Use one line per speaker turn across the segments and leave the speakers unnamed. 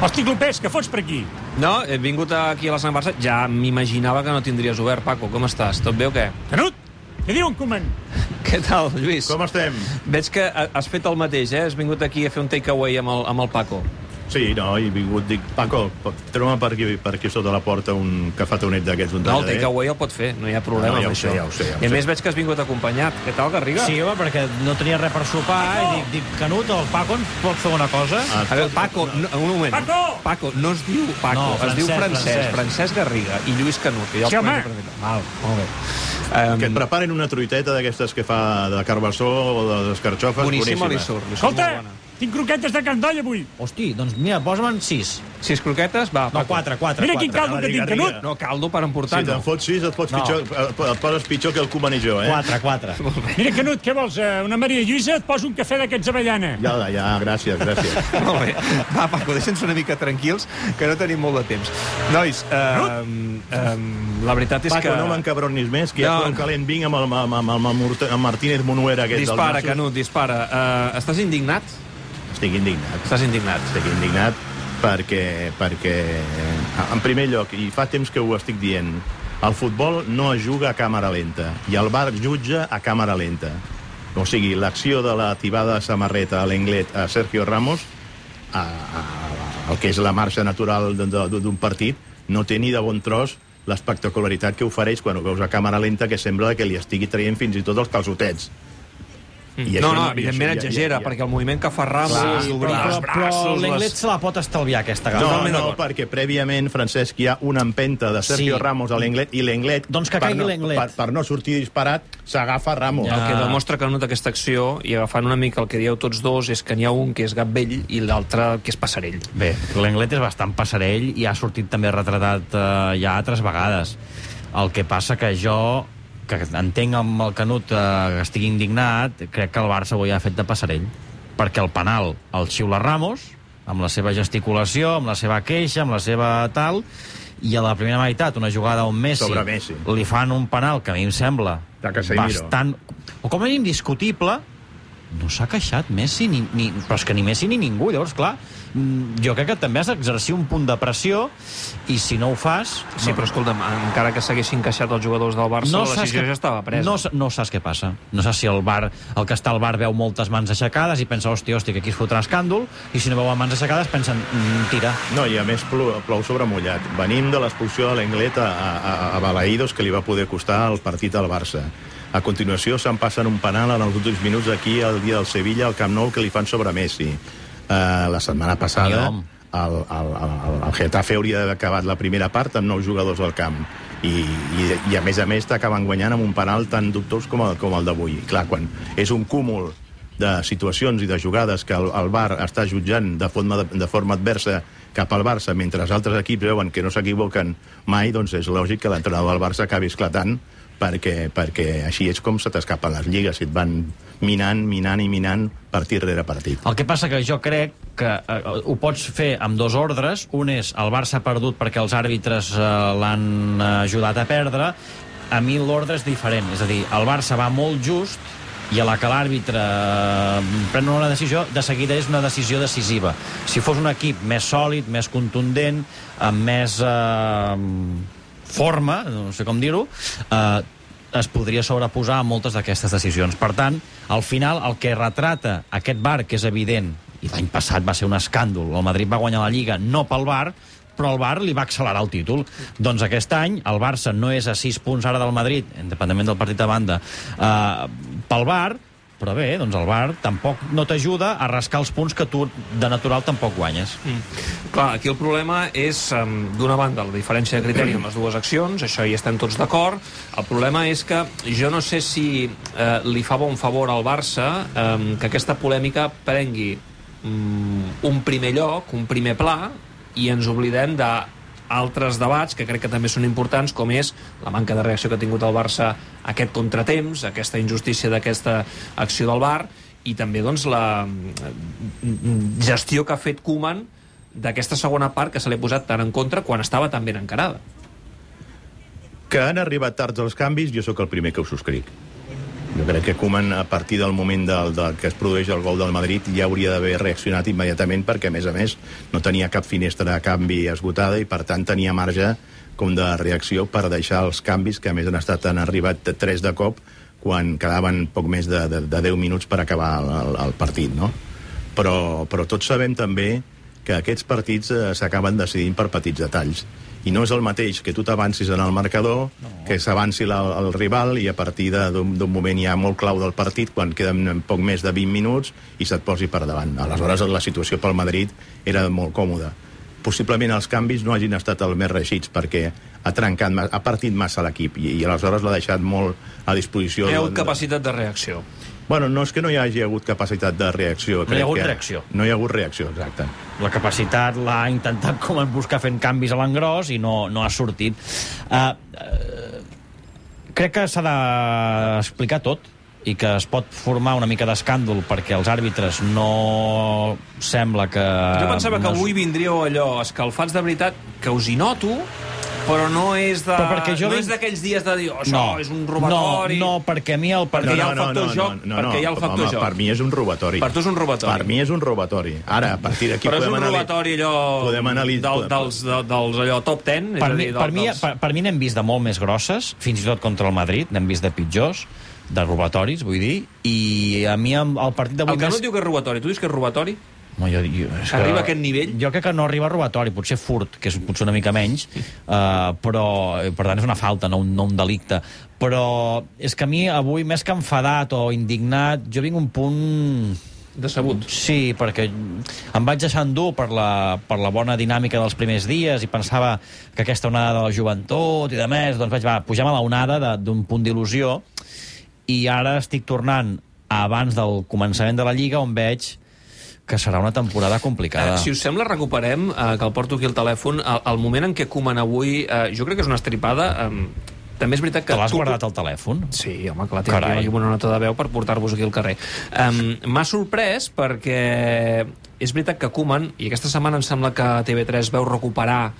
Hosti, Clopés, què fots per aquí?
No, he vingut aquí a la Sant Barça. Ja m'imaginava que no tindries obert, Paco. Com estàs? Tot bé o què?
Canut, què diuen, Coman?
Què tal, Lluís?
Com estem?
Veig que ha- has fet el mateix, eh? Has vingut aquí a fer un takeaway amb, el, amb el Paco.
Sí, no, he vingut, dic, Paco, treu-me per aquí, per aquí sota la porta un cafetonet d'aquests, un
No, el
talladet.
takeaway el pot fer, no hi ha problema
Doncs No, ja ho
amb
sé,
això.
ja ho sé, ja ho
I a
sé.
més veig que has vingut acompanyat. Què tal, Garriga?
Sí, home, perquè no tenia res per sopar eh, i dic, dic Canut, el Paco ens pot fer una cosa?
Ah,
A veure, Paco, no, un moment.
Paco!
Paco, no es diu Paco,
No,
es diu
Francesc,
Francesc.
Francesc.
Francesc Garriga i Lluís Canut. Que ja
Sí,
els
home.
conec perfectament. Val, molt bé.
Que et preparen una truiteta d'aquestes que fa de carbassó o de les carxofes.
Boníssima li surt. Li surt
Escolta,
molt bona.
tinc croquetes de candoll avui.
Hosti, doncs mira, posa'n sis.
Sis croquetes, va,
No,
Paco.
quatre, quatre.
Mira
quatre.
quin caldo que tinc,
Garriga.
Canut.
No, caldo per
Si
emportar,
te'n
no.
fots sis, et, fots
No.
pitjor, eh, et poses pitjor que el Koeman i jo, eh?
Quatre, quatre.
Mira, Canut, què vols? eh, Una Maria Lluïsa? Et poso un cafè d'aquests avellana.
Ja, ja, gràcies, gràcies.
Molt bé. Va, Paco, deixa'ns una mica tranquils, que no tenim molt de temps. Nois, eh, eh, la veritat és
Paco,
que...
no m'encabronis més, que ja
No,
no. prou
no.
calent vinc amb el, amb, amb, amb, el Murta- amb Martínez Monuera aquest
Dispara,
del
Canut, dispara. Eh, estàs indignat?
Nassos. Estic indignat.
Estàs indignat.
Estic indignat perquè, perquè, eh, en primer lloc, i fa temps que ho estic dient, el futbol no es juga a càmera lenta i el bar jutja a càmera lenta. O sigui, l'acció de la tibada de samarreta a l'englet a Sergio Ramos, a, a, a, el que és la marxa natural d'un- d'un d'un partit, no té ni de bon tros l'espectacularitat que ofereix quan ho veus a càmera lenta que sembla que li estigui traient fins i tot els calçotets. I
Mm. no, no,
i
evidentment
ja- ja-
exagera,
ja-
perquè el moviment que fa Ramos,
Sí,
d'obrir
Ah, Però,
els
però
braços...
l'Englet
Les...
se la pot estalviar, aquesta
No,
gala.
no, no, perquè prèviament, Francesc, hi ha una empenta de Sergio
Sí.
sí. Ramos a l'Englet, i l'Englet...
Doncs que
per
caigui
no-
l'Englet.
Per, per no sortir disparat, s'agafa Ramos.
El
Ja.
que demostra que no aquesta acció, i agafant una mica el que dieu tots dos, és que n'hi ha un que és gat vell i l'altre que és passarell.
Bé, l'Englet és bastant passarell i ha sortit també retratat eh, ja altres vegades. El que passa que jo, que entenc amb el Canut eh, que estigui indignat, crec que el Barça avui ha fet de passarell. Perquè el penal el xiula Ramos, amb la seva gesticulació, amb la seva queixa, amb la seva tal, i a la primera meitat, una jugada on Messi,
Sobre Messi.
li fan un penal que a mi em sembla
De Casemiro.
bastant... O com a mínim discutible, no s'ha queixat Messi, ni, ni, però és que ni Messi ni ningú. Llavors, clar, mm, jo crec que també has d'exercir un punt de pressió i si no ho fas...
Sí, però escolta'm, encara que s'haguessin queixat els jugadors del Barça, no la decisió ja estava presa.
No, sa- no saps què passa. No saps si el bar, el que està al bar veu moltes mans aixecades i pensa, hòstia, hòstia, que aquí es fotrà escàndol, i si no veuen mans aixecades pensen, mm, tira.
No, i a més plou, plou sobre mullat. Venim de l'expulsió de l'Englet a, a, a Balaïdos, que li va poder costar el partit al Barça. A continuació se'n passen un penal en els últims minuts aquí al dia del Sevilla, al Camp Nou, que li fan sobre Messi. Uh, la setmana passada...
Home.
el, el, el, el Getafe hauria d'haver acabat la primera part amb nou jugadors al camp i, i, i a més a més t'acaben guanyant amb un penal tan dubtós com el, com el d'avui I clar, quan és un cúmul de situacions i de jugades que el, el VAR està jutjant de forma, de forma adversa cap al Barça, mentre els altres equips veuen que no s'equivoquen mai, doncs és lògic que l'entrenador del Barça acabi esclatant perquè, perquè així és com se t'escapen les lligues, i et van minant, minant i minant partit rere partit.
El que passa que jo crec que eh, ho pots fer amb dos ordres. Un és el Barça ha perdut perquè els àrbitres eh, l'han eh, ajudat a perdre. A mi l'ordre és diferent. És a dir, el Barça va molt just i a la que l'àrbitre eh, pren una decisió, de seguida és una decisió decisiva. Si fos un equip més sòlid, més contundent, amb més eh, forma, no sé com dir-ho, eh, es podria sobreposar a moltes d'aquestes decisions. Per tant, al final, el que retrata aquest bar, que és evident, i l'any passat va ser un escàndol, el Madrid va guanyar la Lliga no pel bar, però el Bar li va accelerar el títol. Doncs aquest any el Barça no és a 6 punts ara del Madrid, independentment del partit de banda, eh, pel Bar, però bé, doncs el Bar tampoc no t'ajuda a rascar els punts que tu de natural tampoc guanyes.
Mm. Clar, aquí el problema és, em, d'una banda, la diferència de criteri en les dues accions, això hi estem tots d'acord. El problema és que jo no sé si eh, li fa bon favor al Barça eh, que aquesta polèmica prengui mm, un primer lloc, un primer pla, i ens oblidem de altres debats que crec que també són importants, com és la manca de reacció que ha tingut el Barça a aquest contratemps, a aquesta injustícia d'aquesta acció del VAR, i també doncs, la mm, gestió que ha fet Koeman d'aquesta segona part que se li ha posat tan en contra quan estava tan ben encarada.
que han arribat tards els canvis, jo sóc el primer que ho subscric. Jo crec que Koeman, a partir del moment del, del que es produeix el gol del Madrid, ja hauria d'haver reaccionat immediatament perquè, a més a més, no tenia cap finestra de canvi esgotada i, per tant, tenia marge com de reacció per deixar els canvis que, a més, han estat han arribat tres de cop quan quedaven poc més de, de, de 10 minuts per acabar el, el, el partit, no? Però, però tots sabem també que aquests partits eh, s'acaben decidint per petits detalls i no és el mateix que tu t'avancis en el marcador, no. que s'avanci la- el rival i a partir de- d'un d'un moment ja molt clau del partit, quan queden poc més de 20 minuts, i se't posi per davant. Aleshores, la situació pel Madrid era molt còmoda. Possiblement els canvis no hagin estat els més reixits, perquè ha trencat, ma- ha partit massa l'equip, i, i aleshores l'ha deixat molt a disposició...
Heu
del-
capacitat de reacció.
Bueno, no és que no hi hagi hagut capacitat de reacció.
hi ha
crec
hagut
que...
reacció.
No hi ha hagut reacció, exacte.
la capacitat l'ha intentat com en buscar fent canvis a l'engròs i no, no ha sortit uh, uh, crec que s'ha d'explicar tot i que es pot formar una mica d'escàndol perquè els àrbitres no sembla que...
Jo pensava que
Ah, no es-
avui vindríeu allò escalfats de veritat, que us hi noto, però no és de...
Però perquè jo
no
vinc-
és d'aquells dies de dir, oh, això no, és un robatori...
No, no, perquè a mi el
Perquè
partit...
hi ha el factor joc, perquè hi ha el factor
home,
joc.
Per mi és un robatori.
Per tu és un robatori.
Per mi és un robatori. Ara, a partir d'aquí
però és un
podem analitzar-
robatori allò
Podem analitzar...
del, dels, de, dels allò top 10 és
per,
a
mi,
dir, doncs- del,
per, mi,
dels...
per, per mi n'hem vist de molt més grosses, fins i tot contra el Madrid, n'hem vist de pitjors, de robatoris, vull dir, i a mi el, el partit d'avui...
el que no
m'és-
et diu que és robatori, tu dius que és robatori?
No, jo, jo, és que-
Arriba a aquest nivell?
Jo crec que no arriba a robatori, potser furt, que és potser una mica menys, uh, però, eh, per tant, és una falta, no un, no un delicte. Però és que a mi avui, més que enfadat o indignat, jo vinc un punt...
Decebut.
Sí, perquè em vaig deixar endur per la, per la bona dinàmica dels primers dies i pensava que aquesta onada de la joventut i de més, doncs vaig va, pujar a la onada de- d'un punt d'il·lusió i ara estic tornant a abans del començament de la Lliga on veig que serà una temporada
Eh,
complicada.
Si us sembla, recuperem, eh, que el porto aquí al telèfon, el, el moment en què Koeman avui... Eh, jo crec que és una estripada... Eh, també és veritat que...
Te l'has
tu-
guardat al telèfon?
Sí, home, clar, tinc
Carai.
aquí una nota de veu per portar-vos aquí al carrer. Um, M'ha sorprès perquè és veritat que Koeman, i aquesta setmana em sembla que TV3 veu recuperar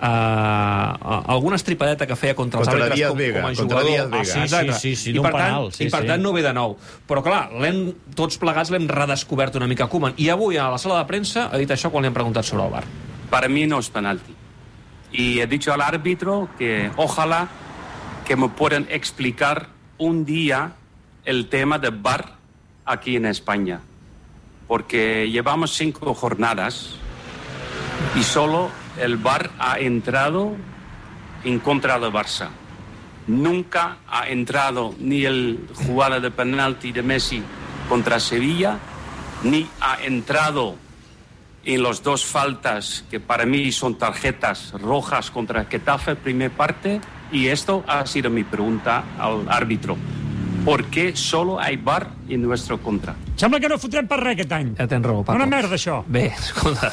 Uh, alguna estripadeta que feia contra els
Contra la
àrbitres
Díaz
com,
Vega,
com a
contra la
jugador.
Díaz Vega.
Ah, sí,
Exacte.
sí, sí, sí,
I
d'un
per
penal,
tant,
sí,
I per
sí.
tant no ve de nou. Però clar, l'hem, tots plegats l'hem redescobert una mica Koeman. I avui a la sala de premsa ha dit això quan li han preguntat sobre el bar.
Para mí no es penalti. Y he dicho al árbitro que ojalá que me puedan explicar un día el tema de VAR aquí en España. Porque llevamos cinco jornadas y solo el VAR ha entrado en contra de Barça. Nunca ha entrado ni el jugada de penalti de Messi contra Sevilla, ni ha entrado en los dos faltas que para mí son tarjetas rojas contra Getafe, primer parte, y esto ha sido mi pregunta al árbitro. ¿Por qué solo hay bar en nuestro contra?
Sembla que no fotrem per res aquest any.
Ja tens raó, Paco.
Una merda, això.
Bé, escolta,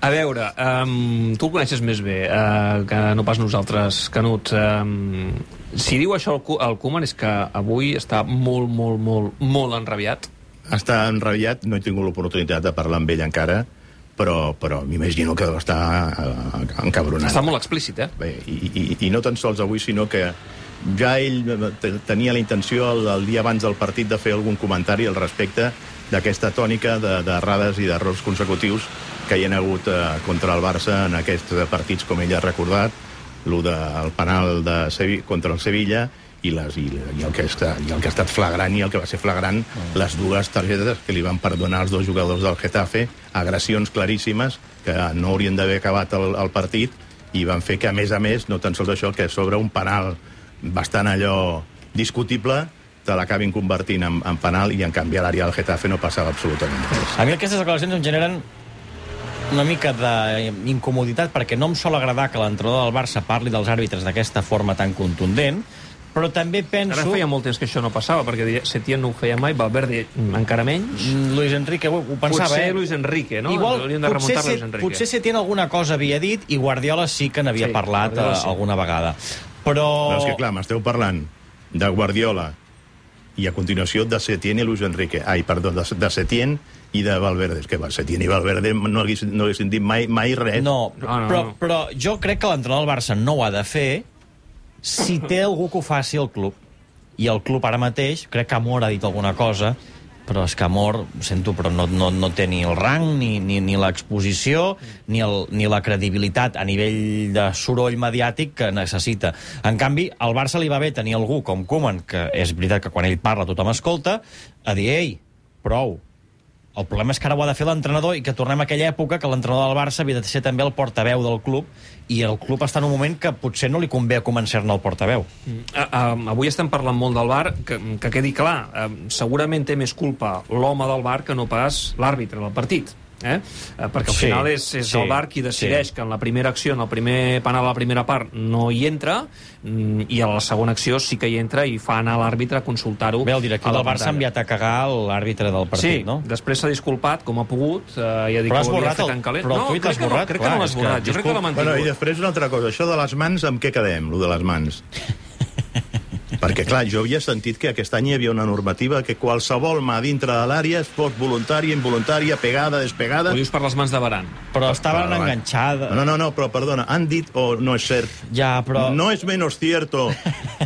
a veure, um, tu el coneixes més bé uh, que no pas nosaltres, Canut. Um, si diu això el, Cu- el Koeman és que avui està molt, molt, molt, molt enrabiat.
Està enrabiat, no he tingut l'oportunitat de parlar amb ell encara, però, però m'imagino que deu estar eh, encabronat.
Està molt explícit, eh?
Bé, i, i, i no tan sols avui, sinó que ja ell eh, te- tenia la intenció el, el dia abans del partit de fer algun comentari al respecte d'aquesta tònica de- d'errades de, i d'errors consecutius que hi ha hagut eh, contra el Barça en aquests eh, partits, com ell ha recordat, el del penal de Sevi contra el Sevilla i, les, i, i, el que està, i el que ha estat flagrant i el que va ser flagrant, les dues targetes que li van perdonar els dos jugadors del Getafe, agressions claríssimes que no haurien d'haver acabat el, el partit i van fer que, a més a més, no tan sols això, que sobre un penal bastant allò discutible, te l'acabin convertint en, en penal i en canvi a l'àrea del Getafe no passava absolutament res.
A mi aquestes declaracions em generen una mica d'incomoditat perquè no em sol agradar que l'entrenador del Barça parli dels àrbitres d'aquesta forma tan contundent, però també
Ara
penso...
feia molt temps que això no passava, perquè Setién no ho feia mai, Valverde mm, encara menys.
Mm, Luis Enrique ho, ho pensava,
Potser
eh?
Luis Enrique, no?
Igual,
Hauríem de
potser,
remuntar-lo a
se,
Luis Enrique.
potser Setién alguna cosa havia dit i Guardiola sí que n'havia
Sí,
parlat
Guardiola
eh,
sí.
alguna vegada. Però...
Però és que, clar, m'esteu parlant de Guardiola i a continuació de Setién i Luis Enrique. Ai, perdó, de, de Setién i de Valverde. És que va, Setién i Valverde no haguessin, no haguessin dit mai, mai res.
No,
Ah, No, no,
però,
no.
però jo crec que l'entrenador del Barça no ho ha de fer si té algú que ho faci al club. i el club ara mateix, crec que Amor ha dit alguna cosa, però és que Amor, ho sento, però no, no, no té ni el rang, ni, ni, ni l'exposició, ni, el, ni la credibilitat a nivell de soroll mediàtic que necessita. En canvi, al Barça li va bé tenir algú com Koeman, que és veritat que quan ell parla tothom escolta, a dir, ei, prou, el problema és que ara ho ha de fer l'entrenador i que tornem a aquella època que l'entrenador del Barça havia de ser també el portaveu del club i el club està en un moment que potser no li convé començar-ne el portaveu.
Uh, avui estem parlant molt del VAR, que, que quedi clar, um, segurament té més culpa l'home del VAR que no pas l'àrbitre del partit. Eh? Eh, perquè al
Sí,
final és, és
sí,
el VAR qui decideix
sí.
que en la primera acció, en el primer penal de la primera part no hi entra mm, i a la segona acció sí que hi entra i fa anar l'àrbitre a consultar-ho
Bé, el
a
director
la
del Barça ha
pantalla.
enviat a cagar l'àrbitre del partit,
sí,
no?
després s'ha disculpat com ha pogut, eh, i ha dit que
Però has
ho havia
borrat
fet
el-
en calent.
però el
no,
tuit
crec
has
que no,
borrat,
crec que no
clar, és
l'has
que,
borrat, jo crec que
disculpa.
l'ha mantingut.
Bueno, i després una altra cosa, això de les mans, amb què quedem, lo de les mans? Perquè, clar, jo havia sentit que aquest any hi havia una normativa que qualsevol mà dintre de l'àrea es fos voluntària, involuntària, pegada, despegada...
Ho dius per les mans de Baran.
Però estaven
Però,
enganxades.
No, no, no, però perdona, han dit o no és cert
Ja, però...
No es menos cierto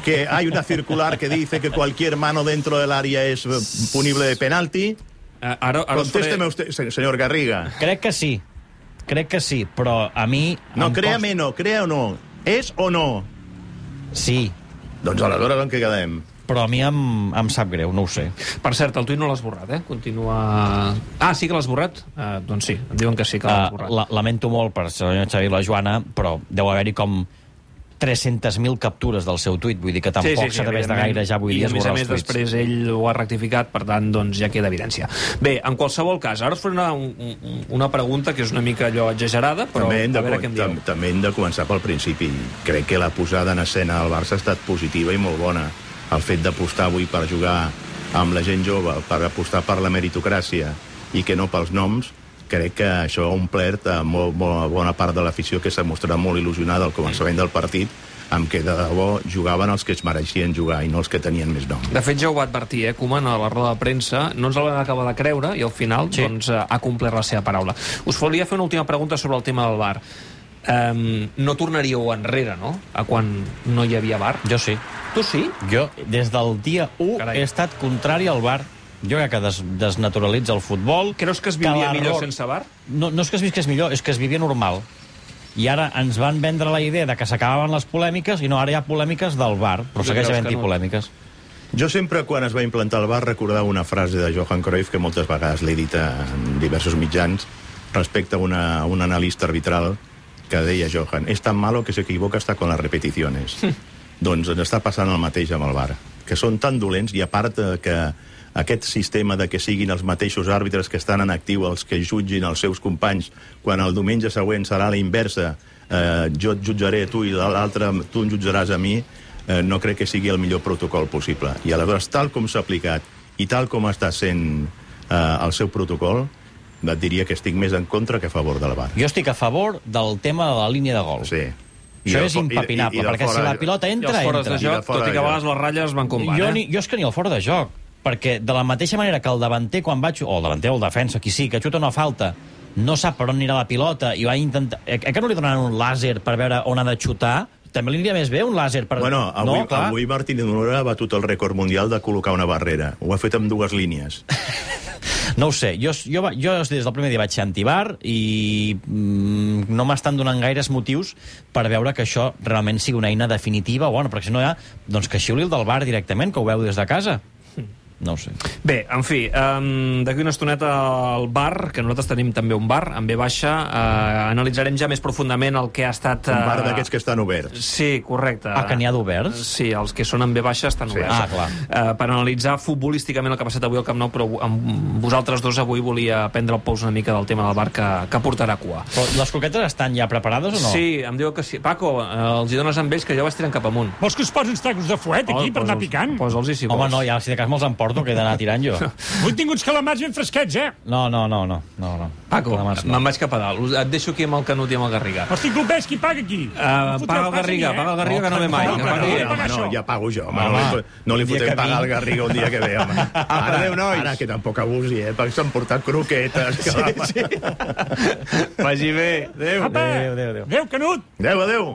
que hay una circular que dice que cualquier mano dentro del área es eh, punible de penalti.
Eh, ara, ara us faré-
Contésteme usted, se- señor Garriga.
Crec que sí. Crec que sí, però a mi...
No,
em
créame, no, crea o no. És o no?
Costa... Sí,
Doncs aleshores en què quedem?
però a mi em, em sap greu, no ho sé.
Per cert, el tuit no l'has borrat, eh? Continua... Ah, sí que l'has borrat? Uh, doncs sí, em diuen que sí que l'has
Uh,
borrat.
la, lamento molt per senyor Xavier i la Joana, però deu haver-hi com 300.000 captures del seu tuit, vull dir que tampoc s'ha de de
evidentment.
gaire ja avui dia
I, a més a
esborrar
més,
els tuits.
després ell ho ha rectificat, per tant, doncs ja queda evidència. Bé, en qualsevol cas, ara us faré una, un- un- una pregunta que és una mica allò exagerada, però
també, hem de,
a veure què em
tam,
diu.
també hem de començar pel principi. Crec que la posada en escena del Barça ha estat positiva i molt bona. El fet d'apostar avui per jugar amb la gent jove, per apostar per la meritocràcia i que no pels noms, crec que això ha omplert a molt, molt bona part de l'afició que s'ha mostrat molt il·lusionada al començament del partit amb què de debò jugaven els que es mereixien jugar i no els que tenien més nom.
De fet, ja ho va advertir, eh, Koeman, a la roda de premsa. No ens el vam acabar de creure i al final sí. doncs, eh, ha complert la seva paraula. Us volia fer una última pregunta sobre el tema del bar. Um, no tornaríeu enrere, no?, a quan no hi havia bar?
Jo sí.
Tu sí?
Jo, des del dia 1,
Carai.
Carai. he estat contrari al VAR. Jo crec que des, desnaturalitza el futbol.
Creus que es
la
vivia millor
ror-
sense bar?
No, no és que es visqués millor, és que es vivia normal. I ara ens van vendre la idea de que s'acabaven les polèmiques, i no, ara hi ha polèmiques del VAR, però
Jo
segueix
creus que
havent-hi
no?
no. polèmiques.
Jo sempre, quan es va implantar el bar, recordava una frase de Johan Cruyff que moltes vegades l'he dit en diversos mitjans respecte a, una, a un analista arbitral que deia Johan, és tan malo que s'equivoca hasta con las repeticiones. doncs ens està passant el mateix amb el bar, que són tan dolents i a part eh, que aquest sistema de que siguin els mateixos àrbitres que estan en actiu els que jutgin els seus companys quan el diumenge següent serà la inversa eh, jo et jutjaré a tu i l'altre tu em jutjaràs a mi eh, no crec que sigui el millor protocol possible. I aleshores, tal com s'ha aplicat i tal com està sent eh, el seu protocol, et diria que estic més en contra que a favor de la VAR.
Jo estic a favor del tema de la línia de gol.
Sí.
Això
del
és
fo-
impepinable,
del
perquè si
fora-
la pilota
I
entra,
els fores
entra.
de
I de
joc,
fora
tot i
de
que a
joc.
vegades les ratlles van com van,
jo,
eh?
ni, jo és que ni el fora de joc, perquè de la mateixa manera que el davanter, quan va xutar, o el davanter o el defensa, qui sí, que xuta una falta, no sap per on anirà la pilota i va intentar... Eh, eh, que no li donaran un làser per veure on ha de xutar? També li aniria més bé un làser per...
Bueno, avui,
no, clar.
avui Martín Honora ha batut el rècord mundial de col·locar una barrera. Ho ha fet amb dues línies.
No ho sé, jo, jo, va- jo des del primer dia vaig ser antibar i mm, no m'estan donant gaires motius per veure que això realment sigui una eina definitiva, bueno, perquè si no hi ha, doncs que xiuli el del bar directament, que ho veu des de casa. No ho sé.
Bé, en fi, um, d'aquí una estoneta al bar, que nosaltres tenim també un bar, en B baixa, uh, analitzarem ja més profundament el que ha estat... eh,
Un bar d'aquests que estan oberts.
Sí, correcte.
Ah, que n'hi ha d'oberts?
Sí, els que són en B baixa estan sí. oberts.
Ah, clar.
Eh, per analitzar futbolísticament el que ha passat avui al Camp Nou, però amb vosaltres dos avui volia prendre el pous una mica del tema del bar que, que portarà cua.
Però les croquetes estan ja preparades o no?
Sí, em diu que sí. Paco, eh, els hi dones amb ells que ja ho estiren cap amunt.
Vols que us posi uns tacos de fuet aquí per anar
Posa'ls-
picant?
Posa'ls-hi, si
Home,
vols.
no, ja, si de cas me'ls emporto, que he d'anar tirant jo.
Avui tinc uns calamars ben fresquets, eh?
No, no, no, no. no, no.
Paco,
Calamars, no.
me'n vaig cap a dalt. Et deixo aquí amb el Canut i amb el Garriga.
Els tinc qui paga aquí.
Uh,
Em fotreu
paga el
pas a
Garriga,
mi, eh?
paga el Garriga, que no ve mai.
No,
que
no,
pagui
no,
ell.
no,
home, no,
això.
ja pago jo. Home,
Home,
no, li, fo- no li
un dia
fotem
que
pagar al
vingui.
Garriga un dia que ve, home. Ara,
Adéu, nois.
Ara, que tampoc abusi, eh? Perquè s'han portat croquetes. Sí, sí.
Vagi bé. Adéu.
Apa!
Adéu, adéu, adéu.
Adéu, Canut!
Adéu, adéu.